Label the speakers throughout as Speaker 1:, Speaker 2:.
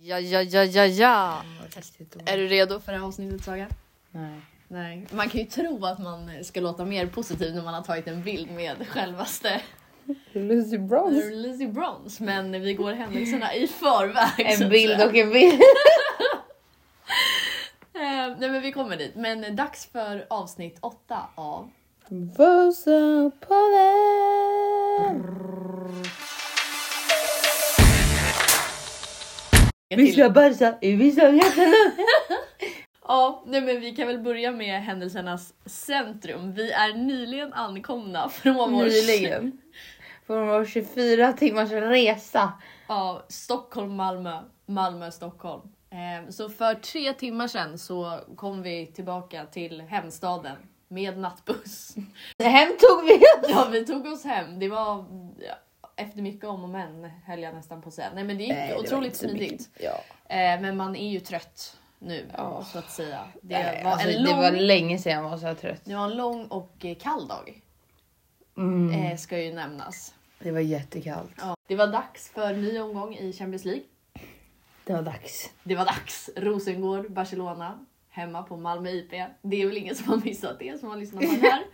Speaker 1: Ja, ja, ja, ja, ja.
Speaker 2: Är du redo för det här avsnittet Saga?
Speaker 3: Nej.
Speaker 2: Nej. Man kan ju tro att man ska låta mer positiv när man har tagit en bild med självaste
Speaker 3: Lucy Bronze.
Speaker 2: Lizzie Bronze men vi går händelserna i förväg. så
Speaker 3: En
Speaker 2: att
Speaker 3: bild
Speaker 2: säga.
Speaker 3: och en bild.
Speaker 2: Eh, nej men vi kommer dit. Men dags för avsnitt åtta av
Speaker 3: Vosapodden! Vi ska bajsa i Visslagatan.
Speaker 2: Ja, nej men vi kan väl börja med händelsernas centrum. Vi är nyligen ankomna från vår
Speaker 3: Nyligen. Från vår 24 timmars resa.
Speaker 2: Ja, Stockholm, Malmö, Malmö, Stockholm. Eh, Så för tre timmar sedan så kom vi tillbaka till hemstaden med nattbuss.
Speaker 3: Hem tog vi
Speaker 2: Ja, vi tog oss hem. Det var ja, efter mycket om och men höll jag nästan på att säga. Nej, men det gick
Speaker 3: Nej, det var
Speaker 2: otroligt
Speaker 3: inte så mycket.
Speaker 2: smidigt.
Speaker 3: Ja.
Speaker 2: Eh, Men man är ju trött nu
Speaker 3: Ja.
Speaker 2: så att säga. Det,
Speaker 3: Det,
Speaker 2: var
Speaker 3: alltså,
Speaker 2: en lång,
Speaker 3: det var länge sedan jag var så här trött.
Speaker 2: det var en lång och eh, kall dag
Speaker 3: Mm.
Speaker 2: eh, ska ju nämnas.
Speaker 3: Det var jättekallt.
Speaker 2: Ja. Det var dags för ny omgång i Champions League.
Speaker 3: Det var dags.
Speaker 2: Det var dags! Rosengård, Barcelona, hemma på Malmö IP. Det är väl ingen som har missat det som har lyssnat på den här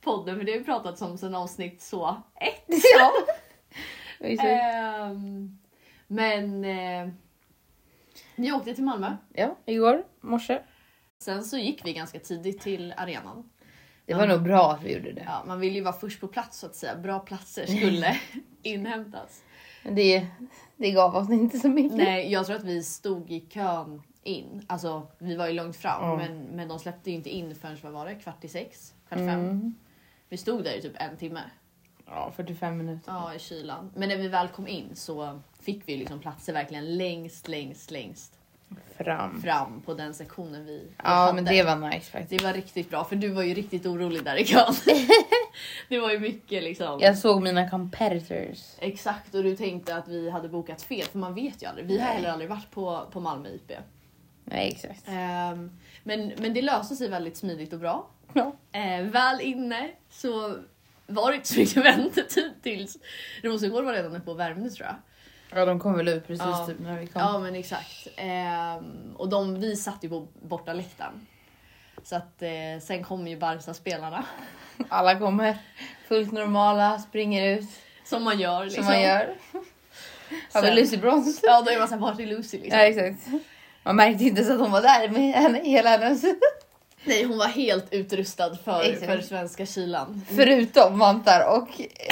Speaker 2: podden för det har vi pratat om sedan avsnitt så ett.
Speaker 3: Ja. Exakt.
Speaker 2: Ehm, men eh, vi åkte till Malmö.
Speaker 3: ja, igår morse.
Speaker 2: Sen så gick vi ganska tidigt till arenan.
Speaker 3: Det var nog bra att vi gjorde det.
Speaker 2: Ja, man vill ju vara först på plats så att säga. Bra platser skulle inhämtas.
Speaker 3: Men det, det gav oss inte så mycket.
Speaker 2: Nej, jag tror att vi stod i kön in. Alltså, vi var ju långt fram,
Speaker 3: Ja.
Speaker 2: men, men de släppte ju inte in förrän vad var det? kvart i sex, kvart i fem.
Speaker 3: Mm.
Speaker 2: Vi stod där i typ en timme
Speaker 3: Ja, 45 minuter.
Speaker 2: ja, i kylan. Men när vi väl kom in så fick vi ju liksom platser verkligen längst, längst, längst
Speaker 3: Fram.
Speaker 2: fram på den sektionen vi, vi
Speaker 3: Ja, men det var nice faktiskt.
Speaker 2: det var riktigt bra, för du var ju riktigt orolig där i kön. det var ju mycket liksom.
Speaker 3: Jag såg mina competitors.
Speaker 2: Exakt, och du tänkte att vi hade bokat fel, för man vet ju aldrig. Vi har
Speaker 3: Nej.
Speaker 2: heller aldrig varit på, på Malmö IP.
Speaker 3: Nej, exakt.
Speaker 2: Ehm, men, men det löste sig väldigt smidigt och bra.
Speaker 3: Ja.
Speaker 2: Eh, väl inne så var det inte så mycket väntetid tills Rosengård var redan uppe och värmde tror jag.
Speaker 3: ja, de kom väl ut precis
Speaker 2: Ja.
Speaker 3: typ när vi kom.
Speaker 2: Ja men exakt. Ehm, och de, vi satt ju på bortaläktaren. Så att eh, sen kom ju Barca-spelarna.
Speaker 3: Alla kommer fullt normala, springer ut
Speaker 2: Som man gör. Liksom.
Speaker 3: som man gör. Har vi
Speaker 2: Sen-
Speaker 3: Lucy Bronze?
Speaker 2: Ja då är man såhär, vart är Lucy liksom?
Speaker 3: Ja, exakt. Man märkte inte så att hon var där med henne, hela hennes...
Speaker 2: Nej hon var helt utrustad för,
Speaker 3: Exakt.
Speaker 2: för svenska kylan.
Speaker 3: Förutom vantar och...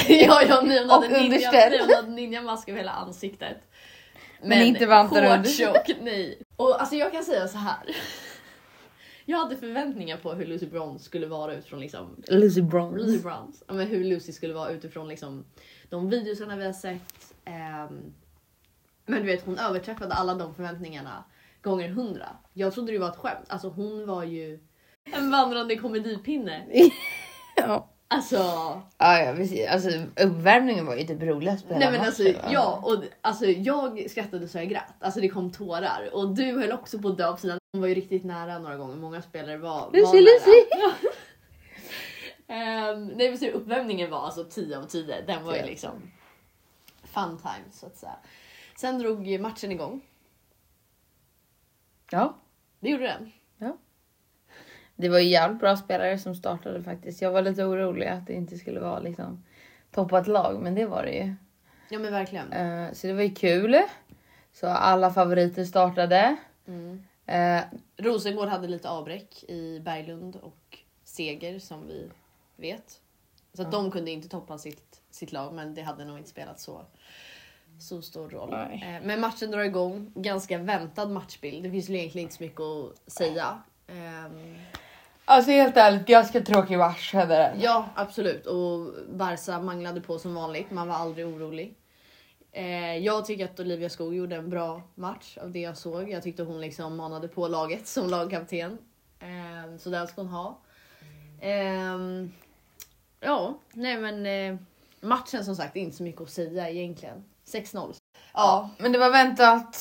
Speaker 2: ja, ja, nej, hon hade
Speaker 3: Och
Speaker 2: ninja-
Speaker 3: underställ.
Speaker 2: nej, hon hade ninjamask över hela ansiktet.
Speaker 3: Men inte vantar
Speaker 2: shorts
Speaker 3: under.
Speaker 2: och nej. Och alltså jag kan säga så här. Jag hade förväntningar på hur Lucy Bronze skulle vara utifrån liksom
Speaker 3: Lucy
Speaker 2: Lucy
Speaker 3: Bronze.
Speaker 2: Bronze. Ja, men hur Lucy skulle vara utifrån liksom de videorna vi har sett. ehm. men du vet hon överträffade alla de förväntningarna gånger hundra. Jag trodde det var ett skämt. Alltså hon var ju en vandrande komedipinne.
Speaker 3: Ja.
Speaker 2: Alltså
Speaker 3: Ja, ja, precis. Alltså, uppvärmningen var ju typ roligast på
Speaker 2: Nej
Speaker 3: hela
Speaker 2: men alltså,
Speaker 3: matchen, va?
Speaker 2: ja, och, alltså jag skrattade så jag grät. Alltså det kom tårar. Och du höll också på att dö på sidan. Hon var ju riktigt nära några gånger. Många spelare var, var
Speaker 3: Lucy,
Speaker 2: nära.
Speaker 3: Lucy!
Speaker 2: Ehm, nej men så uppvärmningen var alltså 10 av 10. Den var ju
Speaker 3: Ja.
Speaker 2: liksom fun time så att säga. Sen drog ju matchen igång.
Speaker 3: Ja,
Speaker 2: Det gjorde den.
Speaker 3: det var ju jävligt bra spelare som startade faktiskt. Jag var lite orolig att det inte skulle vara liksom toppat lag, men det var det ju.
Speaker 2: Ja men verkligen.
Speaker 3: Eh, så det var ju kul. Så alla favoriter startade.
Speaker 2: Mm.
Speaker 3: Eh,
Speaker 2: Rosengård hade lite avbräck i Berglund och Seger som vi vet. Så att de kunde inte toppa sitt, sitt lag men det hade nog inte spelat så, så stor roll.
Speaker 3: Nej.
Speaker 2: Eh, Men matchen drar igång. Ganska väntad matchbild. Det finns ju egentligen inte så mycket att säga. Ehm,
Speaker 3: alltså helt ärligt, ganska tråkig match hade den.
Speaker 2: Ja, absolut. Och Barca manglade på som vanligt. Man var aldrig orolig. Eh, jag tycker att Olivia Skog gjorde en bra match av det jag såg. Jag tyckte hon liksom manade på laget som lagkapten. Eh, så den ska hon ha. Ehm, ja, nej men eh, matchen som sagt, inte så mycket att säga egentligen. 6-0. Ja,
Speaker 3: Men det var väntat.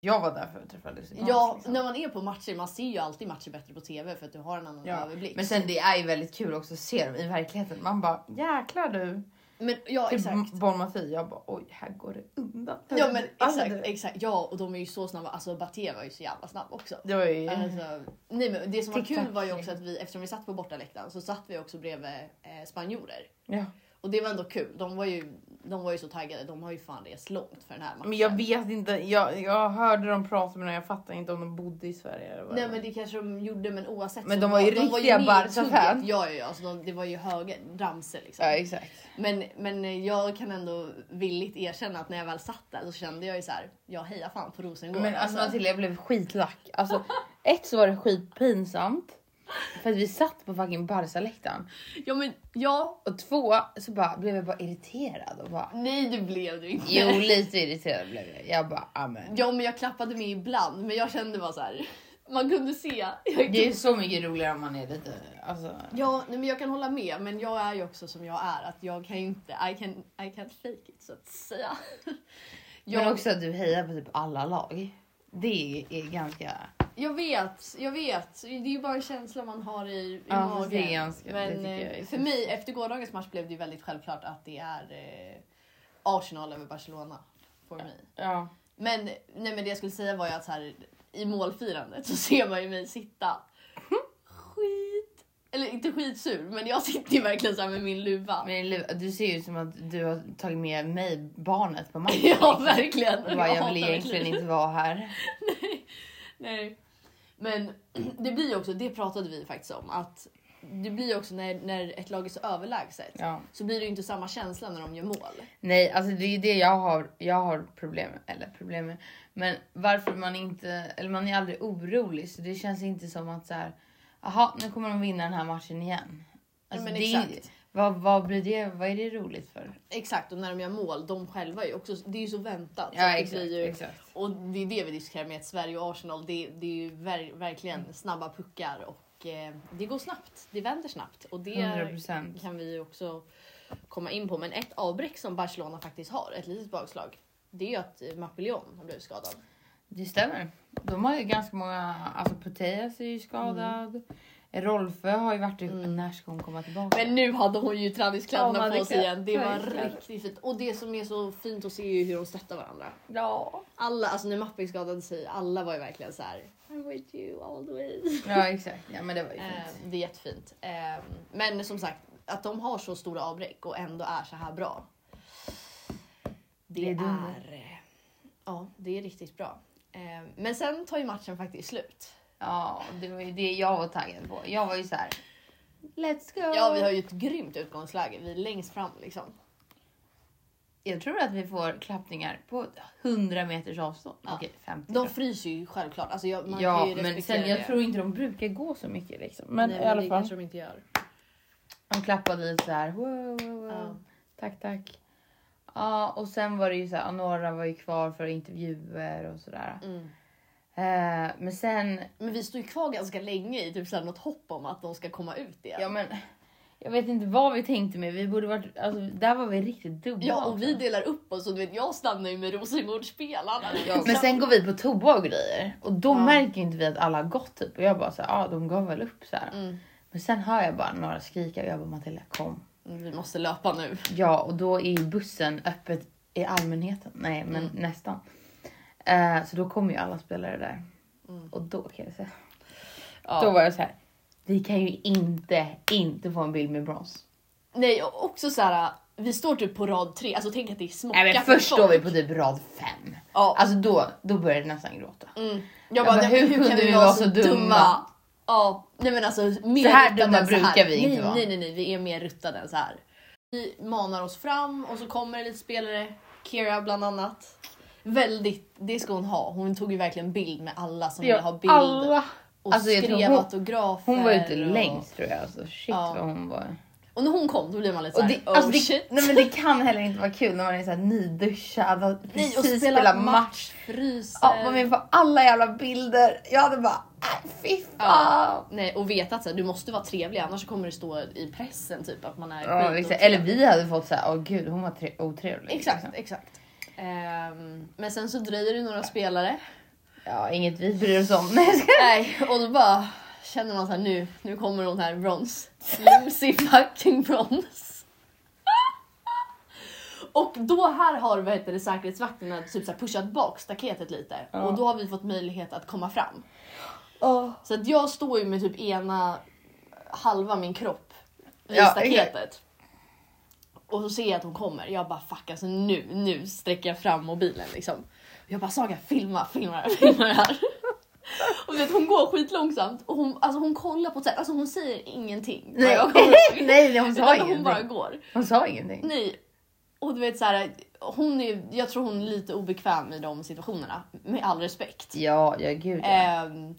Speaker 3: Jag var där för att träffa Lucy. Bronze,
Speaker 2: ja,
Speaker 3: liksom.
Speaker 2: när man är på matcher, man ser ju alltid matcher bättre på TV för att du har en annan
Speaker 3: Ja,
Speaker 2: överblick.
Speaker 3: Men sen det är ju väldigt kul också att se dem i verkligheten. Man bara jäklar du.
Speaker 2: Men ja,
Speaker 4: Typ
Speaker 2: exakt.
Speaker 4: Bournemouth i, jag bara oj, här går det undan.
Speaker 2: Ja men
Speaker 4: Alltså,
Speaker 2: exakt,
Speaker 4: det-
Speaker 2: exakt. Ja och de är ju så snabba. Alltså Batia var ju så jävla snabb också.
Speaker 4: Det var ju...
Speaker 2: Alltså, nej, men det som var
Speaker 4: Tic-tac.
Speaker 2: kul var ju också att vi, eftersom vi satt på bortaläktaren så satt vi också bredvid eh, spanjorer.
Speaker 4: Ja.
Speaker 2: Och det var ändå kul. De var ju, de var ju så taggade. De har ju fan rest långt för den här matchen.
Speaker 4: Men jag vet inte, jag, jag hörde dem prata men jag fattade inte om de bodde i Sverige eller vad.
Speaker 2: Nej men det kanske de gjorde men oavsett.
Speaker 4: Men
Speaker 2: så
Speaker 4: de var ju riktiga
Speaker 2: med i
Speaker 4: Barca-fan.
Speaker 2: tugget. Ja ja ja, alltså de, det var ju höga ramsor liksom.
Speaker 4: Ja exakt.
Speaker 2: Men, men jag kan ändå villigt erkänna att när jag väl satt där så kände jag ju så här, jag hejar fan på Rosengård.
Speaker 4: Men
Speaker 2: alltså,
Speaker 4: alltså,
Speaker 3: Matilda jag blev skitlack. Alltså, ett så var det skitpinsamt. För att vi satt på fucking Barca-läktaren.
Speaker 2: ja men ja,
Speaker 3: Och två så bara, blev jag bara irriterad och bara...
Speaker 2: nej det blev du inte.
Speaker 3: Jo lite irriterad blev jag. Jag bara amen.
Speaker 2: Ja men jag klappade med ibland men jag kände bara så här, man kunde se.
Speaker 3: Det är så mycket roligare om man är lite... Alltså,
Speaker 2: Ja nej, men jag kan hålla med men jag är ju också som jag är att jag kan ju inte, I can, I can fake it så att säga. Jag,
Speaker 3: Men också att du hejar på typ alla lag. Det är ganska...
Speaker 2: jag vet, jag vet. Det är ju bara en känsla man har i, i
Speaker 3: Ja,
Speaker 2: magen.
Speaker 3: det är ganska- det
Speaker 2: men
Speaker 3: tycker jag är
Speaker 2: eh, för
Speaker 3: schysst.
Speaker 2: mig efter gårdagens match blev det ju väldigt självklart att det är eh, Arsenal över Barcelona. För mig.
Speaker 4: Ja.
Speaker 2: Men, nej, men det jag skulle säga var ju att så här, i målfirandet så ser man ju mig sitta skit... Eller inte skitsur, men jag sitter ju verkligen så här med min luva.
Speaker 3: Men Liv, du ser ju ut som att du har tagit med mig, barnet, på matchen.
Speaker 2: Ja, verkligen.
Speaker 3: Jag, bara, jag
Speaker 2: hatar
Speaker 3: vill
Speaker 2: verkligen-
Speaker 3: egentligen inte vara här.
Speaker 2: Nej. Men det blir ju också, det pratade vi faktiskt om, att det blir ju också när, när ett lag är så överlägset
Speaker 4: Ja.
Speaker 2: så blir det ju inte samma känsla när de gör mål.
Speaker 3: Nej, alltså det är ju det jag har, jag har problem med. Eller problem med. Men varför man inte... Eller man är aldrig orolig. Så det känns inte som att så här... Aha, nu kommer de vinna den här matchen igen. Alltså,
Speaker 2: men
Speaker 3: det är,
Speaker 2: exakt.
Speaker 3: vad, vad blir det? Vad är det roligt för?
Speaker 2: Exakt, och när de gör mål, de själva är ju också, det är ju så väntat. så
Speaker 3: Ja,
Speaker 2: att Alltså, det
Speaker 3: exakt,
Speaker 2: blir ju,
Speaker 3: exakt.
Speaker 2: Och det är det vi diskuterar med att Sverige och Arsenal, det, det är ju ver,
Speaker 4: Mm.
Speaker 2: verkligen snabba puckar och eh, det går snabbt, det vänder snabbt. Och det
Speaker 3: 100%.
Speaker 2: kan vi ju också komma in på. Men ett avbräck som Barcelona faktiskt har, ett litet bakslag, det är ju att eh, Mappillon har blivit skadad.
Speaker 3: Det stämmer. De har ju ganska många... Alltså Puteas är ju skadad. Mm. Rolfö har ju varit... i- När ska hon komma tillbaka?
Speaker 2: Men nu hade hon ju
Speaker 4: Ja,
Speaker 2: träningskläderna
Speaker 4: man
Speaker 2: på sig
Speaker 4: verkligen-
Speaker 2: igen. Det var
Speaker 4: verkligen.
Speaker 2: riktigt fint. Och det som är så fint att se är ju hur de stöttar varandra.
Speaker 4: Ja.
Speaker 2: Alla, alltså när Mapping skadade sig, alla var ju verkligen så här. I'm with you all the way.
Speaker 3: Ja, exakt. Ja, men det var ju fint.
Speaker 2: Eh, det är jättefint. Eh, men som sagt, att de har så stora avbräck och ändå är så här bra. Det,
Speaker 3: Det är
Speaker 2: är...
Speaker 3: dunder.
Speaker 2: eh, ja, det är riktigt bra. Eh, men sen tar ju matchen faktiskt slut.
Speaker 3: Ja, det var ju det jag var taggad på. Jag var ju så här. Let's go!
Speaker 2: Ja, vi har ju ett grymt utgångsläge. Vi är längst fram liksom.
Speaker 3: Jag tror att vi får klappningar på 100 meters avstånd. Okej, 50.
Speaker 2: De fryser ju självklart. Alltså, jag, man kan
Speaker 3: ja,
Speaker 2: ju
Speaker 3: men
Speaker 2: respektera
Speaker 3: sen jag
Speaker 2: det.
Speaker 3: tror inte de brukar gå så mycket liksom. Men
Speaker 2: Men Nej,
Speaker 4: i alla
Speaker 2: det
Speaker 4: fall.
Speaker 2: kanske de inte gör.
Speaker 3: De klappade lite så här. Wow, wow, wow.
Speaker 2: Ja.
Speaker 3: Tack, tack. Ja, och sen var det ju så här. Några var ju kvar för intervjuer och sådär.
Speaker 2: Mm.
Speaker 3: Eh, men sen,
Speaker 2: Men vi står ju kvar ganska länge i typ så här något hopp om att de ska komma ut igen.
Speaker 3: ja men. Jag vet inte vad vi tänkte med. Vi borde varit, alltså där var vi riktigt dubbla.
Speaker 2: Ja, och
Speaker 3: också.
Speaker 2: vi delar upp oss och du vet, jag stannar ju med Rosengårdsspelarna.
Speaker 3: Men sen går vi på toa och grejer och då
Speaker 2: Ja.
Speaker 3: märker ju inte vi att alla har gått typ och jag bara så här, ah, de gav väl upp så här.
Speaker 2: Mm.
Speaker 3: Men sen hör jag bara några skrika och jag bara Matilda kom.
Speaker 2: Vi måste löpa nu.
Speaker 3: Ja och då är ju bussen öppet i allmänheten. Nej men
Speaker 2: Mm.
Speaker 3: nästan. Eh, så då kommer ju alla spelare där
Speaker 2: Mm.
Speaker 3: och då kan jag säga. Då var jag så här. Vi kan ju inte, inte få en bild med brons.
Speaker 2: Nej, och också så här. Vi står typ på rad tre, alltså tänk att det är smockat.
Speaker 3: Nej men först står vi på typ rad fem.
Speaker 2: Ja.
Speaker 3: Alltså då, då börjar jag nästan gråta.
Speaker 2: Mm.
Speaker 3: Jag
Speaker 2: Jag bara,
Speaker 3: bara,
Speaker 2: nej, men
Speaker 3: hur
Speaker 2: hur
Speaker 3: kunde
Speaker 2: kan vi vara så dumma?
Speaker 3: dumma?
Speaker 2: Ja, nej men alltså. Mer
Speaker 3: Så här
Speaker 2: ruttade
Speaker 3: dumma
Speaker 2: än
Speaker 3: brukar vi inte
Speaker 2: nej,
Speaker 3: vara.
Speaker 2: Nej, nej, nej, vi är mer ruttade än så här. Vi manar oss fram och så kommer det lite spelare, Kira bland annat. Väldigt, det ska hon ha. Hon tog ju verkligen bild med alla som ville ha bild.
Speaker 3: alla.
Speaker 2: Och
Speaker 3: Alltså, jag tror
Speaker 2: skrev
Speaker 3: hon-
Speaker 2: autografer.
Speaker 3: Hon var ute
Speaker 2: och...
Speaker 3: längst tror jag. Alltså, shit
Speaker 2: Ja.
Speaker 3: vad hon var.
Speaker 2: Och när hon kom då blev man lite
Speaker 3: Och
Speaker 2: såhär,
Speaker 3: det,
Speaker 2: oh
Speaker 3: alltså
Speaker 2: shit.
Speaker 3: det, nej men det kan heller inte vara kul när man är så här nyduschad och
Speaker 2: Nej,
Speaker 3: precis
Speaker 2: och spela,
Speaker 3: spelar
Speaker 2: match,
Speaker 3: match.
Speaker 2: fryser.
Speaker 3: Ja, var med på alla jävla bilder. Jag hade bara, äh, fy fan.
Speaker 2: Ja. Nej, och veta att så här, du måste vara trevlig annars kommer det stå i pressen typ att man är
Speaker 3: Ja,
Speaker 2: skit-
Speaker 3: exakt. Eller vi hade fått så här, åh gud hon var tre- otrevlig.
Speaker 2: Exakt,
Speaker 3: liksom.
Speaker 2: exakt. Ehm, men sen så dröjer det några spelare.
Speaker 3: Ja, inget vi bryr oss om. Nej, jag skojar.
Speaker 2: Nej, och då bara känner man så här nu, nu kommer hon här brons. Lucy fucking brons. Och då här har vad heter det, säkerhetsvakterna typ så här pushat bak staketet lite
Speaker 3: Ja.
Speaker 2: och då har vi fått möjlighet att komma fram. Så att jag står ju med typ ena halva min kropp i
Speaker 3: Ja,
Speaker 2: staketet. Och så ser jag att hon kommer. Jag bara fuck alltså nu, nu sträcker jag fram mobilen liksom. Jag bara Saga filma, filma det här, filma det här. Och vet, hon går skitlångsamt och hon, alltså, hon kollar på ett sätt, alltså hon säger ingenting. vad
Speaker 3: Nej.
Speaker 2: jag kommer-
Speaker 3: Nej, hon sa
Speaker 2: Utan hon bara
Speaker 3: ingenting.
Speaker 2: går.
Speaker 3: Hon sa ingenting.
Speaker 2: Nej. Och du vet så här, hon är, jag tror hon är lite obekväm i de situationerna. Med all respekt.
Speaker 3: Ja, ja gud ja.
Speaker 2: Ehm,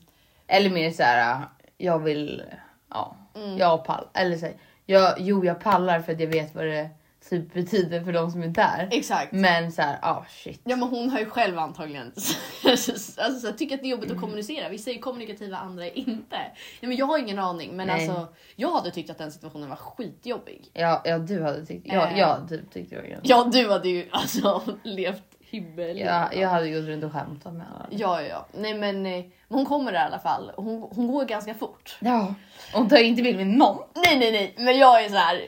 Speaker 3: Eller mer så här, äh, jag vill, ja,
Speaker 2: Mm.
Speaker 3: jag pallar. Eller så här, jag, jo jag pallar för att jag vet vad det typ betyder för de som är där.
Speaker 2: exakt.
Speaker 3: Men så här, ah shit.
Speaker 2: Ja men hon har ju själv antagligen alltså, så här, tycker att det är
Speaker 3: Mm.
Speaker 2: jobbigt att kommunicera. Vissa är ju kommunikativa, andra är inte. Ja, men jag har ingen aning men
Speaker 3: Nej.
Speaker 2: alltså jag hade tyckt att den situationen var skitjobbig.
Speaker 3: Ja, ja du hade tyckt, ja,
Speaker 2: Eh.
Speaker 3: jag typ tyckte det var ganska...
Speaker 2: Ja du hade ju alltså levt himmel.
Speaker 3: Ja, jag hade gått runt och skämtat med alla.
Speaker 2: ja ja, ja. Nej men eh, men hon kommer där i alla fall. Hon, hon går ganska fort.
Speaker 3: Ja, hon tar ju inte bild med någon.
Speaker 2: Nej nej nej men jag är så här.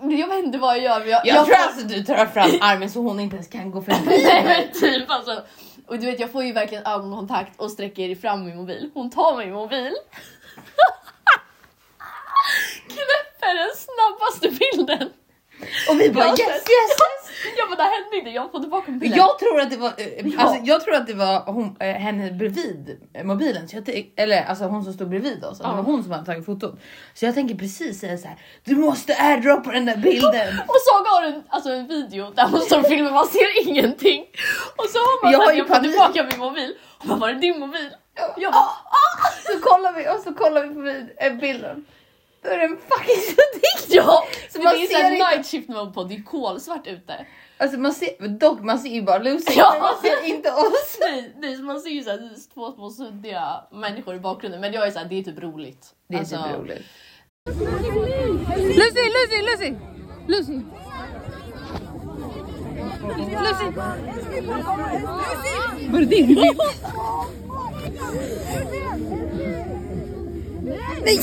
Speaker 2: Jag vet inte vad jag gör men jag,
Speaker 3: Jag,
Speaker 2: jag
Speaker 3: tror
Speaker 2: får-
Speaker 3: alltså du tar fram armen så hon inte ens kan gå förbi.
Speaker 2: Nej men typ alltså. Och du vet jag får ju verkligen ögonkontakt och sträcker fram min mobil. Hon tar min mobil. Knäpper den snabbaste bilden.
Speaker 3: Och vi bara
Speaker 2: Jag
Speaker 3: yes,
Speaker 2: ser-
Speaker 3: yes, yes.
Speaker 2: Jag bara det här hände inte, jag får tillbaka
Speaker 3: För
Speaker 2: mobilen.
Speaker 3: Jag tror att det var, eh,
Speaker 2: Ja.
Speaker 3: alltså, jag tror att det var hon, eh, henne bredvid eh, mobilen, så jag tänk- eller alltså hon som stod bredvid oss, att det
Speaker 2: Ja.
Speaker 3: var hon som hade tagit fotot. Så jag tänker precis säga så här, du måste airdroppa den där bilden.
Speaker 2: Och Saga har en, alltså en video där hon står och filmar, man ser ingenting. Och så har man
Speaker 3: Jag
Speaker 2: jag,
Speaker 3: har ju
Speaker 2: jag får
Speaker 3: panik.
Speaker 2: tillbaka min mobil. Hon bara var det din mobil? Jag bara,
Speaker 3: Så kollar vi och så kollar vi på vid- eh, bilden. Då är den fucking suddig.
Speaker 2: ja!
Speaker 3: Så
Speaker 2: det
Speaker 3: man
Speaker 2: är ju
Speaker 3: ser
Speaker 2: såhär
Speaker 3: inte-
Speaker 2: night shift mode på, det är kolsvart ute.
Speaker 3: Alltså man ser, dock man ser ju bara Lucy,
Speaker 2: Ja.
Speaker 3: men man ser inte oss.
Speaker 2: Nej, nej så man ser ju såhär två små suddiga människor i bakgrunden men jag är såhär det är typ roligt.
Speaker 3: Det är
Speaker 2: Alltså,
Speaker 3: typ roligt.
Speaker 5: Lucy, Lucy, Lucy, Lucy. Lucy. Var det din bil? Nej!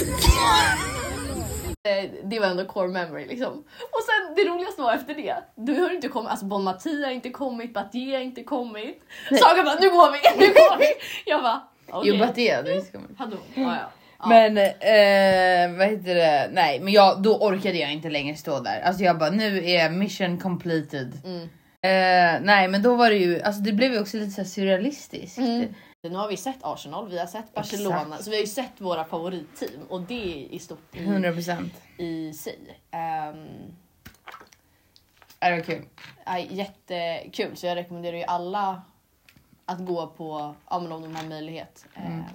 Speaker 2: Eh, det var ändå core memory liksom. Och sen det roligaste var efter det, du har inte kommit, alltså Bon Matti har inte kommit, Batje har inte kommit. Saga bara nu går vi, nu går vi! Jag bara okej.
Speaker 3: Jo Mm. bara det hade vi kommit.
Speaker 2: Hallå, ja, ja. Ja.
Speaker 3: Men eh, vad heter det? Nej, men jag, då orkade jag inte längre stå där. Alltså jag bara nu är mission completed.
Speaker 2: Mm.
Speaker 3: Eh, nej, men då var det ju alltså det blev ju också lite så här surrealistiskt.
Speaker 2: Nu har vi sett Arsenal, vi har sett Barcelona,
Speaker 3: Exakt.
Speaker 2: så vi har ju sett våra favoritteam och det är i stort i,
Speaker 3: 100 procent.
Speaker 2: i sig. Ehm,
Speaker 3: Äh, Det var kul.
Speaker 2: Aj, jättekul, så jag rekommenderar ju alla att gå på, ja, men om de har möjlighet,
Speaker 3: Mm.
Speaker 2: eh,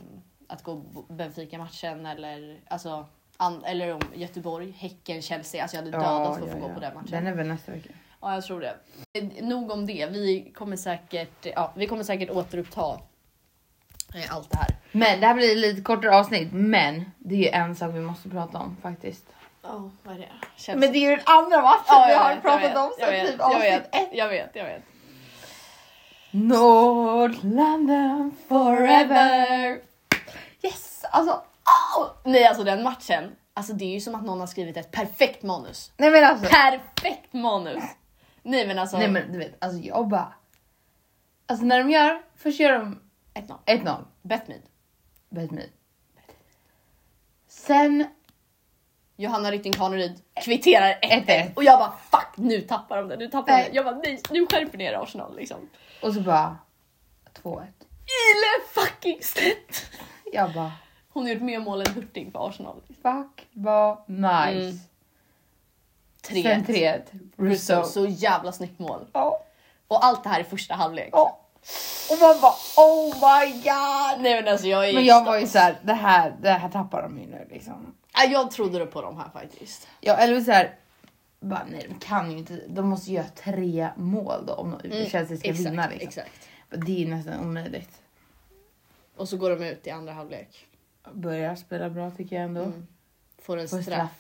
Speaker 2: att gå på Benfica-matchen eller, alltså, an, eller om Göteborg, Häcken, Chelsea. Alltså jag hade dödat för att få gå på den matchen.
Speaker 3: Den är väl nästa vecka.
Speaker 2: Ja, jag tror det. Eh, Nog om det. Vi kommer säkert, ja, vi kommer säkert återuppta eh, allt det här.
Speaker 3: Men det här blir lite kortare avsnitt, men det är ju en sak vi måste prata om faktiskt.
Speaker 2: Ja, vad är det? Chelsea.
Speaker 3: Men det är ju den andra matchen
Speaker 2: Ja,
Speaker 3: vi
Speaker 2: jag
Speaker 3: har
Speaker 2: vet, jag
Speaker 3: pratat
Speaker 2: vet,
Speaker 3: om
Speaker 2: jag
Speaker 3: sen
Speaker 2: vet,
Speaker 3: typ
Speaker 2: jag
Speaker 3: avsnitt
Speaker 2: vet,
Speaker 3: ett.
Speaker 2: Jag vet, jag vet.
Speaker 3: North London forever. Yes, alltså.
Speaker 2: Åh, nej, alltså den matchen. Alltså det är ju som att någon har skrivit ett perfekt manus.
Speaker 3: Nej men alltså.
Speaker 2: perfekt manus. Nej men alltså,
Speaker 3: Nej men du vet, alltså jag bara... Alltså när de gör, först gör de
Speaker 2: 1-0.
Speaker 3: 1-0,
Speaker 2: Bet me.
Speaker 3: bet me. Sen
Speaker 2: Johanna Rytting Kaneryd kvitterar 1-1
Speaker 3: 1-1.
Speaker 2: och jag bara fuck nu tappar de det, nu tappar de
Speaker 3: Nej.
Speaker 2: det. Jag bara nej nu skärper ni er Arsenal liksom.
Speaker 3: och så bara 2-1.
Speaker 2: Ile fucking Stedt!
Speaker 3: Jag bara
Speaker 2: Hon har gjort mer mål än Hurtig för Arsenal.
Speaker 3: fuck vad nice.
Speaker 2: 3-1.
Speaker 3: Sen 3-1, Russo.
Speaker 2: Så, så jävla snyggt mål.
Speaker 3: Ja,
Speaker 2: Och allt det här i första halvlek.
Speaker 3: ja. Och man bara oh my god.
Speaker 2: Nej men alltså jag är
Speaker 3: Men jag var ju såhär, det här, det här tappar de ju nu liksom.
Speaker 2: Ja, jag trodde det på dem här faktiskt.
Speaker 3: Ja eller såhär, bara nej de kan ju inte, de måste göra tre mål då om de Chelsea ska
Speaker 2: Mm, exakt,
Speaker 3: vinna liksom.
Speaker 2: Exakt.
Speaker 3: Det är ju nästan omöjligt.
Speaker 2: Och så går de ut i andra halvlek.
Speaker 3: börjar spela bra tycker jag ändå.
Speaker 2: Mm. Får en
Speaker 3: På straff.
Speaker 2: straff.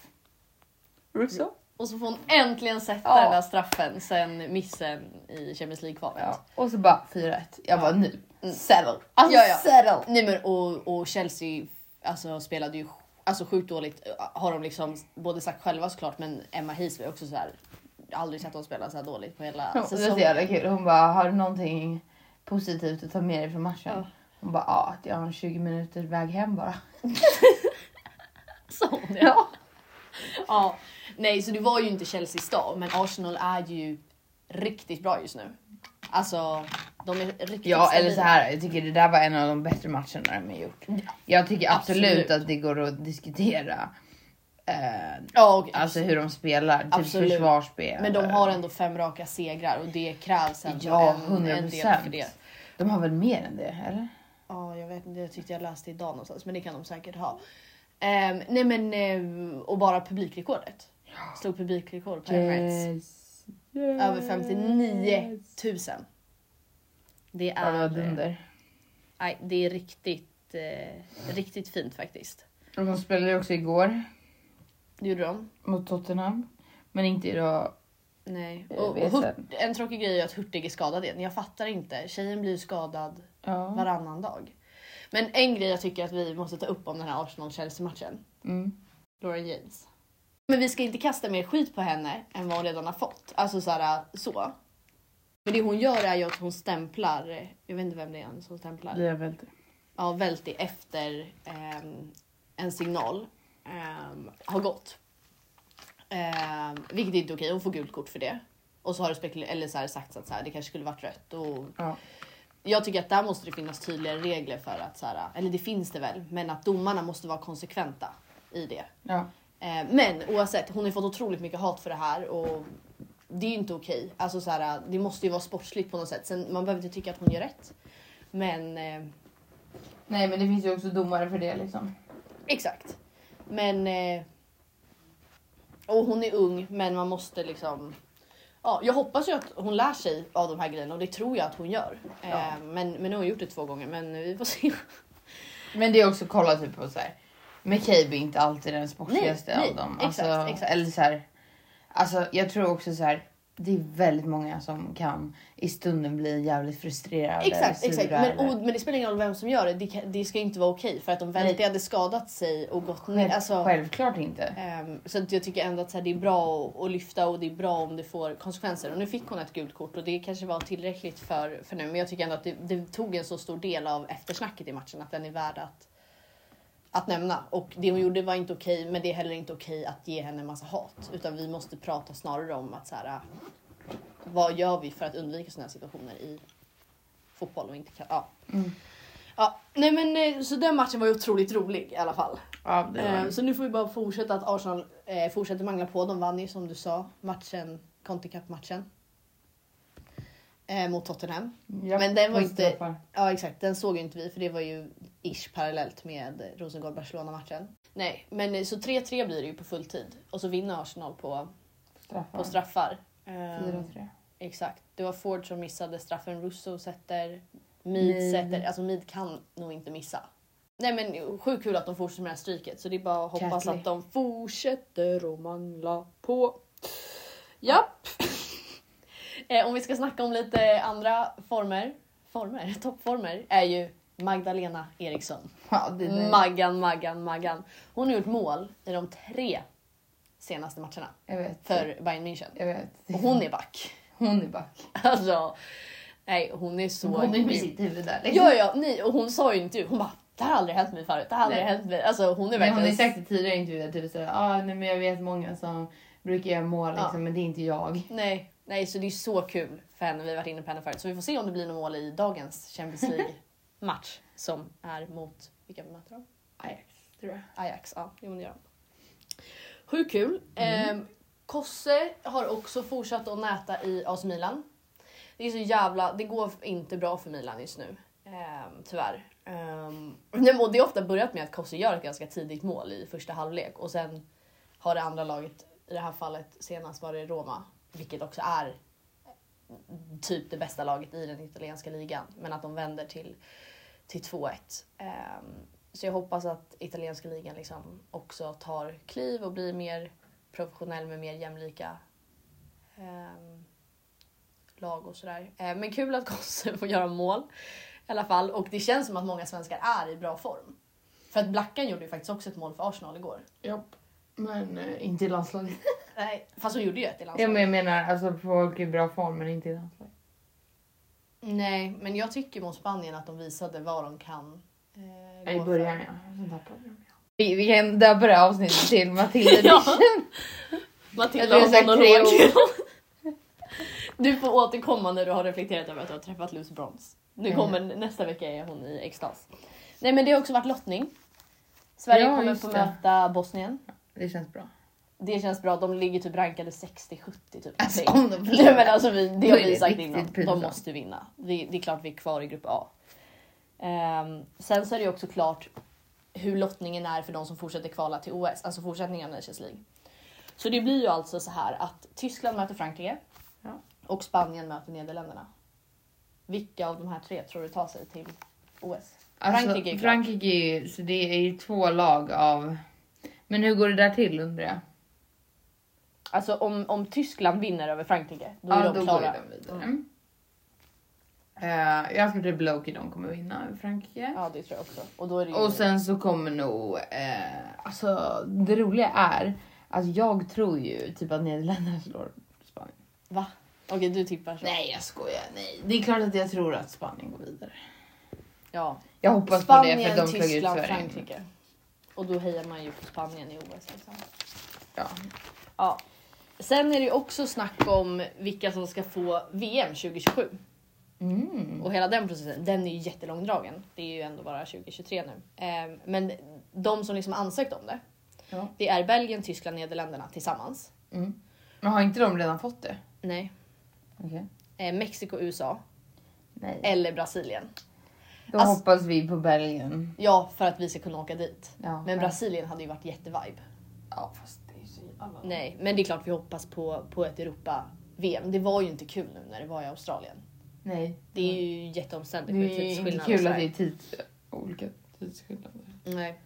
Speaker 3: Russo?
Speaker 2: Och så får hon äntligen sätta
Speaker 3: Ja.
Speaker 2: den där straffen sen missen i Champions League-kvalet.
Speaker 3: Ja. Och så bara 4-1. Jag bara nu.
Speaker 2: Mm.
Speaker 3: Settle. Alltså
Speaker 2: Ja, ja.
Speaker 3: settle.
Speaker 2: Nej men och, och Chelsea alltså, spelade ju alltså, sjukt dåligt. Har de liksom både sagt själva såklart men Emma Hayes var ju också så här aldrig sett dem spela så här dåligt på hela
Speaker 3: Alltså, Det är så
Speaker 2: säsongen.
Speaker 3: jävla kul. Hon bara, har du någonting positivt att ta med dig från matchen?
Speaker 2: Ja.
Speaker 3: Hon bara, ja att jag har en 20 minuters väg hem bara.
Speaker 2: Sån, ja. ja. Nej, så det var ju inte Chelseas dag, men Arsenal är ju riktigt bra just nu. Alltså, de är riktigt
Speaker 3: Ja eller
Speaker 2: stabila.
Speaker 3: så här, jag tycker det där var en av de bättre matcherna de har gjort. Jag tycker absolut,
Speaker 2: Absolut.
Speaker 3: att det går att diskutera eh,
Speaker 2: Ja, och,
Speaker 3: alltså hur de spelar, typ
Speaker 2: Absolut.
Speaker 3: försvarsspel.
Speaker 2: men de har ändå fem raka segrar och det krävs ändå
Speaker 3: Ja,
Speaker 2: en, en
Speaker 3: 100
Speaker 2: del för
Speaker 3: procent.
Speaker 2: det.
Speaker 3: De har väl mer än det eller?
Speaker 2: Ja, jag vet inte. Jag tyckte jag läste idag någonstans, men det kan de säkert ha. Ehm, nej men, ehm, och bara publikrekordet. Slog publikrekord på Emirates. Över 59 000. Det
Speaker 3: Ja, det var
Speaker 2: är,
Speaker 3: dunder.
Speaker 2: nej, det är riktigt, eh, riktigt fint faktiskt.
Speaker 3: Och de spelade ju också igår
Speaker 2: Det gjorde de.
Speaker 3: mot Tottenham. Men inte idag.
Speaker 2: Nej.
Speaker 3: Jag
Speaker 2: Och, och
Speaker 3: vet
Speaker 2: Hurt, en tråkig grej är att Hurtig är skadad igen. Jag fattar inte. Tjejen blir skadad
Speaker 3: Ja.
Speaker 2: varannan dag. Men en grej jag tycker att vi måste ta upp om den här Arsenal-Chelsea-matchen.
Speaker 3: Mm.
Speaker 2: Lauren James. Men vi ska inte kasta mer skit på henne än vad hon redan har fått. Alltså så här, så. Men det hon gör är ju att hon stämplar, jag vet inte vem det är som stämplar.
Speaker 3: Jag vet inte.
Speaker 2: Ja, Velti efter ehm, en signal ehm, har gått. Ehm, vilket inte är okej, hon får gult kort för det. Och så har det spekul- eller så här sagt att så här, det kanske skulle varit rött. Och
Speaker 3: Ja.
Speaker 2: jag tycker att där måste det finnas tydligare regler för att, så här, eller det finns det väl, men att domarna måste vara konsekventa i det.
Speaker 3: Ja.
Speaker 2: Eh, Men oavsett, hon har ju fått otroligt mycket hat för det här och det är ju inte okej. Alltså så här, det måste ju vara sportsligt på något sätt. Sen, man behöver inte tycka att hon gör rätt. Men eh,
Speaker 3: Nej men det finns ju också domare för det liksom.
Speaker 2: exakt. Men... Eh, och hon är ung, men man måste liksom... Ja, jag hoppas ju att hon lär sig av de här grejerna och det tror jag att hon gör. Eh,
Speaker 3: Ja.
Speaker 2: men, men nu har hon gjort det två gånger, men vi får se.
Speaker 3: Men det är också kolla typ på så här. McCabe är inte alltid den sportigaste
Speaker 2: Nej, nej,
Speaker 3: av dem.
Speaker 2: exakt, exakt.
Speaker 3: Eller så här, alltså jag tror också så här. Det är väldigt många som kan i stunden bli jävligt frustrerade.
Speaker 2: Exakt,
Speaker 3: eller
Speaker 2: exakt.
Speaker 3: sura
Speaker 2: Men,
Speaker 3: eller-
Speaker 2: och, men det spelar ingen roll vem som gör det. Det, kan, det ska ju inte vara okej för att om
Speaker 3: Nej.
Speaker 2: Velti hade skadat sig och gått ner. Alltså,
Speaker 3: Självklart inte.
Speaker 2: Ehm, så att jag tycker ändå att så här, det är bra att, att lyfta och det är bra om det får konsekvenser. Och nu fick hon ett gult kort och det kanske var tillräckligt för, för nu. Men jag tycker ändå att det, det tog en så stor del av eftersnacket i matchen att den är värd att, att nämna. Och det hon gjorde var inte okej, men det är heller inte okej att ge henne en massa hat. Utan vi måste prata snarare om att så här, vad gör vi för att undvika sådana här situationer i fotboll och inte kan, ja.
Speaker 3: Mm.
Speaker 2: Ja, nej men eh, så den matchen var ju otroligt rolig i alla fall.
Speaker 3: Ja, det var
Speaker 2: Eh, Så nu får vi bara fortsätta att Arsenal eh, fortsätter mangla på. De vann ju som du sa matchen, Conte Cup-matchen. Eh, mot Tottenham.
Speaker 3: Ja,
Speaker 2: men den var
Speaker 3: på
Speaker 2: inte-
Speaker 3: straffar.
Speaker 2: Ja exakt, den såg ju inte vi för det var ju ish parallellt med Rosengård-Barcelona-matchen. Nej, men eh, så 3-3 blir det ju på fulltid. Och så vinner Arsenal på,
Speaker 3: Straffar.
Speaker 2: på straffar. Eh,
Speaker 3: 4-3.
Speaker 2: Exakt. Det var Ford som missade straffen. Russo sätter. Mead
Speaker 3: Mead.
Speaker 2: sätter. Alltså Mead kan nog inte missa. Nej men sjukt kul att de fortsätter med det här stryket. Så det är bara att hoppas
Speaker 3: Catley.
Speaker 2: att de fortsätter att mangla på. Japp! Eh, Om vi ska snacka om lite andra former. Former? Toppformer är ju Magdalena Eriksson.
Speaker 3: Ja, det är
Speaker 2: Maggan, Maggan, Maggan. Hon har gjort mål i de tre senaste matcherna
Speaker 3: Jag vet.
Speaker 2: för Bayern München.
Speaker 3: Jag vet.
Speaker 2: Och hon är back.
Speaker 3: Hon är back.
Speaker 2: Alltså, nej hon är så...
Speaker 3: Hon är med sitt huvud där. liksom.
Speaker 2: Ja, ja, nej, och hon sa ju inte hon bara det här har aldrig hänt mig förut, det här har aldrig
Speaker 3: Nej.
Speaker 2: hänt mig. Alltså hon är
Speaker 3: Men
Speaker 2: verkligen...
Speaker 3: hon har ju sagt i tidigare intervjuer typ såhär, ah, nej men jag vet många som brukar göra mål liksom,
Speaker 2: Ja.
Speaker 3: men det är inte jag.
Speaker 2: Nej, nej, så det är så kul för henne, vi har varit inne på henne förut. Så vi får se om det blir något mål i dagens Champions League-match som är mot, vilka vi möter de?
Speaker 3: Ajax, tror jag.
Speaker 2: Ajax, ja, jo men det gör de. Hur kul!
Speaker 3: Mm.
Speaker 2: Ehm, Kosse har också fortsatt att näta i AS Milan. Det är så jävla, det går inte bra för Milan just nu. Ehm, tyvärr. Ehm, nej, men och det har ofta börjat med att Kosse gör ett ganska tidigt mål i första halvlek och sen har det andra laget, i det här fallet senast var det Roma, vilket också är typ det bästa laget i den italienska ligan. Men att de vänder till, till 2-1. Ehm, så jag hoppas att italienska ligan liksom också tar kliv och blir mer professionell med mer jämlika ehm, lag och sådär. Ehm, men kul att Gosse får göra mål i alla fall. Och det känns som att många svenskar är i bra form. För att Blackan gjorde ju faktiskt också ett mål för Arsenal igår.
Speaker 3: Japp. Men eh, inte i landslaget.
Speaker 2: Nej, fast hon gjorde ju ett i
Speaker 3: Ja,
Speaker 2: landslaget.
Speaker 3: men jag menar alltså folk i bra form men inte i landslaget.
Speaker 2: Nej, men jag tycker mot Spanien att de visade vad de kan. eh,
Speaker 3: I
Speaker 2: gå
Speaker 3: början
Speaker 2: för.
Speaker 3: ja. Sen tappade de ja. Vi, vi kan döpa det här avsnittet till Matilda edition.
Speaker 2: Matilda
Speaker 3: Jag tror
Speaker 2: har
Speaker 3: jag har sagt
Speaker 2: monolog. Du får återkomma när du har reflekterat över att du har träffat Luce Brons. Nu
Speaker 3: Mm.
Speaker 2: kommer, nästa vecka är hon i extas. Nej men det har också varit lottning. Sverige
Speaker 3: Ja,
Speaker 2: kommer
Speaker 3: just
Speaker 2: få
Speaker 3: det.
Speaker 2: möta Bosnien.
Speaker 3: Det känns bra.
Speaker 2: Det känns bra, de ligger typ rankade 60-70 typ.
Speaker 3: Alltså,
Speaker 2: någonting.
Speaker 3: om de förlorar.
Speaker 2: Nej, men alltså, vi, det
Speaker 3: Då
Speaker 2: har
Speaker 3: är
Speaker 2: vi
Speaker 3: det
Speaker 2: sagt
Speaker 3: riktigt
Speaker 2: innan, de
Speaker 3: pinsamt.
Speaker 2: måste vinna. Vi, det är klart vi är kvar i grupp A. Ehm, sen så är det ju också klart hur lottningen är för de som fortsätter kvala till OS, alltså fortsättningen av Nations League. Så det blir ju alltså så här att Tyskland möter Frankrike
Speaker 3: Ja.
Speaker 2: och Spanien möter Nederländerna. Vilka av de här tre tror du tar sig till OS?
Speaker 3: Alltså,
Speaker 2: Frankrike är klart.
Speaker 3: Frankrike är ju, så det är ju två lag av... Men hur går det där till undrar jag?
Speaker 2: Alltså om, om Tyskland vinner över Frankrike, då är
Speaker 3: ja,
Speaker 2: de
Speaker 3: då
Speaker 2: klara.
Speaker 3: går ju de vidare. Eh, jag tror typ Loki de kommer vinna över Frankrike.
Speaker 2: Ja, det tror jag också. Och då är det ju...
Speaker 3: Och sen så kommer nog... Eh, alltså det roliga är att jag tror ju typ att Nederländerna slår Spanien.
Speaker 2: Va? Okej, du tippar så.
Speaker 3: Nej jag skojar, nej. Det är klart att jag tror att Spanien går vidare.
Speaker 2: Ja.
Speaker 3: Jag hoppas
Speaker 2: Spanien,
Speaker 3: på det för att de slog ut
Speaker 2: Tyskland,
Speaker 3: Sverige.
Speaker 2: Frankrike. Och då hejar man ju på Spanien i OS. Liksom.
Speaker 3: Ja.
Speaker 2: Ja. Sen är det ju också snack om vilka som ska få VM 2027.
Speaker 3: Mm.
Speaker 2: Och hela den processen, den är ju jättelångdragen. Det är ju ändå bara 2023 nu. Ehm, Men de som liksom ansökt om det,
Speaker 3: Ja.
Speaker 2: det är Belgien, Tyskland, Nederländerna tillsammans.
Speaker 3: Mm. Men har inte de redan fått det?
Speaker 2: Nej.
Speaker 3: Okej.
Speaker 2: Eh, Mexiko, USA
Speaker 3: Nej.
Speaker 2: eller Brasilien.
Speaker 3: Då
Speaker 2: Alltså-
Speaker 3: hoppas vi på Belgien.
Speaker 2: Ja, för att vi ska kunna åka dit.
Speaker 3: Ja,
Speaker 2: Men
Speaker 3: ja.
Speaker 2: Brasilien hade ju varit jättevibe.
Speaker 3: Ja, fast det är så jävla...
Speaker 2: Nej, men det är klart vi hoppas på, på ett Europa-VM. Det var ju inte kul nu när det var i Australien.
Speaker 3: Nej.
Speaker 2: Det är ju jätteomständigt
Speaker 3: Mm. Det
Speaker 2: med
Speaker 3: är inte
Speaker 2: tidsskillnad.
Speaker 3: kul att det är tids... olika tidsskillnader.
Speaker 2: Nej.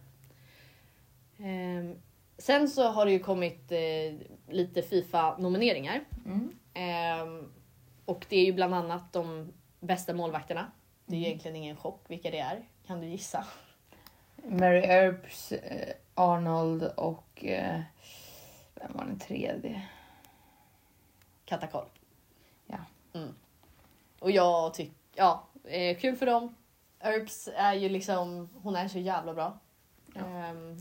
Speaker 2: Ehm, sen så har det ju kommit eh, lite Fifa-nomineringar.
Speaker 3: Mm.
Speaker 2: Ehm, och det är ju bland annat de bästa målvakterna. Det är ju
Speaker 3: Mm.
Speaker 2: egentligen ingen chock vilka det är. Kan du gissa?
Speaker 3: Mary Earps, eh, Arnold och... Eh, vem var den tredje?
Speaker 2: Katakoll.
Speaker 3: Ja.
Speaker 2: Mm. Och jag tycker, ja, eh, kul för dem. Earps är ju liksom, hon är så jävla bra.
Speaker 3: Ja.
Speaker 2: Ehm,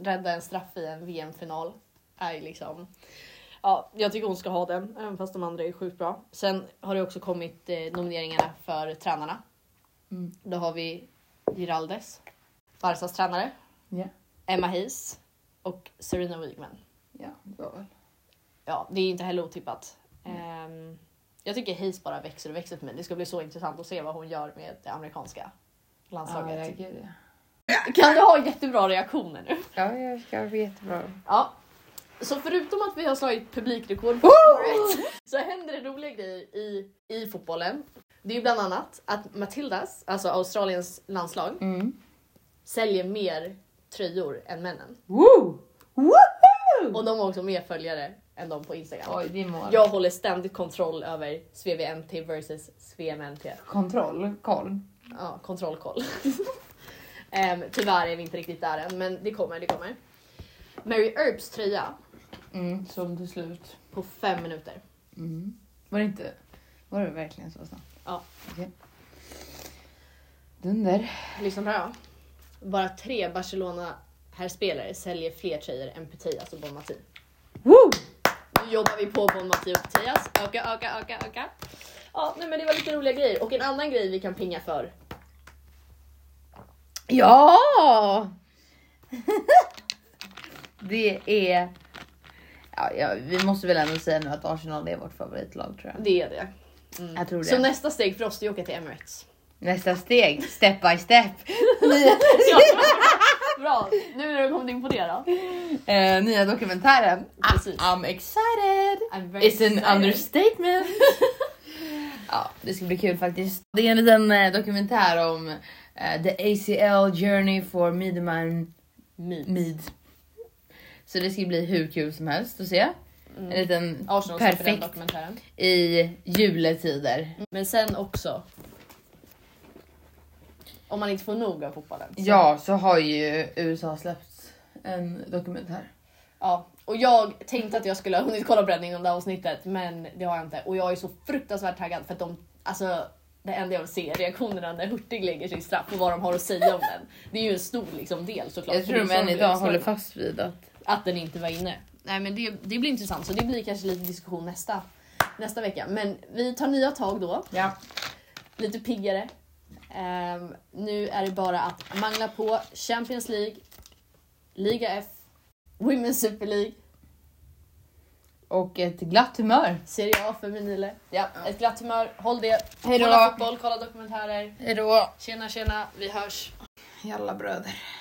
Speaker 2: rädda en straff i en VM-final är ju liksom, ja, jag tycker hon ska ha den, även fast de andra är sjukt bra. Sen har det också kommit eh, nomineringarna för tränarna.
Speaker 3: Mm.
Speaker 2: Då har vi Giraldes, Barsas tränare,
Speaker 3: Ja.
Speaker 2: Emma Hayes och Serena Wigman.
Speaker 3: Ja, det var väl.
Speaker 2: Ja, det är inte heller otippat.
Speaker 3: Mm.
Speaker 2: Ehm, jag tycker Hayes bara växer och växer för mig. Det ska bli så intressant att se vad hon gör med det amerikanska
Speaker 3: Ja, typ.
Speaker 2: landslaget.
Speaker 3: jag gör det.
Speaker 2: Kan du ha jättebra reaktioner nu?
Speaker 3: Ja, jag ska få jättebra.
Speaker 2: Ja. Så förutom att vi har slagit publikrekord på året så händer det roliga grejer i, i fotbollen. Det är ju bland annat att Matildas, alltså Australiens landslag,
Speaker 3: Mm.
Speaker 2: säljer mer tröjor än männen.
Speaker 3: Woo!
Speaker 2: Och de har också mer följare än de på Instagram.
Speaker 3: Oj, det är mål.
Speaker 2: Jag håller ständigt kontroll över SvVMT versus SvMNT.
Speaker 3: Kontroll, koll.
Speaker 2: Ja, kontrollkoll. Ehm, tyvärr är vi inte riktigt där än, men det kommer, det kommer. Mary Earps tröja
Speaker 3: Mm, som till slut.
Speaker 2: på fem minuter.
Speaker 3: Mm. Var det inte... Var det verkligen så snabbt?
Speaker 2: Ja.
Speaker 3: Okej. Dunder.
Speaker 2: Lyssna på det här. då. Bara tre Barcelona herrspelare säljer fler tröjor än Putellas och Bon Mati.
Speaker 3: Woo!
Speaker 2: Nu jobbar vi på Bon Mati och Putellas. Öka, öka, öka, öka. Ja, nej, men det var lite roliga grejer. Och en annan grej vi kan pinga för.
Speaker 3: Ja! det är... Ja, ja, vi måste väl ändå säga nu att Arsenal är vårt favoritlag tror jag.
Speaker 2: Det är det.
Speaker 3: Jag tror det.
Speaker 2: Mm. Så nästa steg för oss är att åka till Emirates.
Speaker 3: Nästa steg, step by step. Nya,
Speaker 2: Ja. Bra, nu när du kommit in på det då.
Speaker 3: eh, nya dokumentären.
Speaker 2: Precis.
Speaker 3: I'm excited!
Speaker 2: I'm very
Speaker 3: It's
Speaker 2: excited.
Speaker 3: an understatement. ja, det ska bli kul faktiskt. Det är en liten eh, dokumentär om eh, the ACL journey for Miedemann Mead. Så det ska bli hur kul som helst att se. En liten
Speaker 2: Arsenal Perfekt. den
Speaker 3: perfekt
Speaker 2: dokumentären.
Speaker 3: i juletider.
Speaker 2: Men sen också. Om man inte får nog av fotbollen. så-
Speaker 3: Ja, så har ju USA släppt en dokumentär.
Speaker 2: ja. Och jag tänkte att jag skulle ha hunnit kolla på den innan det här avsnittet men det har jag inte. Och jag är så fruktansvärt taggad för att de, alltså det enda jag vill se är reaktionerna när Hurtig lägger sin straff och vad de har att säga om den. Det är ju en stor liksom, del såklart.
Speaker 3: Jag
Speaker 2: För
Speaker 3: tror
Speaker 2: det
Speaker 3: de
Speaker 2: är
Speaker 3: än
Speaker 2: så
Speaker 3: idag
Speaker 2: vi-
Speaker 3: håller fast vid att
Speaker 2: Att den inte var inne. Nej men det, det blir intressant så det blir kanske lite diskussion nästa, nästa vecka. Men vi tar nya tag då.
Speaker 4: Ja.
Speaker 2: Lite piggare. Ehm, nu är det bara att mangla på Champions League, Liga F, Women's Super League,
Speaker 3: och ett glatt humör.
Speaker 2: Serie A för Minile. Ja, ett glatt humör. Håll det.
Speaker 4: Hej då.
Speaker 2: Kolla fotboll, kolla dokumentärer.
Speaker 4: Hejdå.
Speaker 2: Tjena tjena, vi hörs.
Speaker 4: Jalla bröder.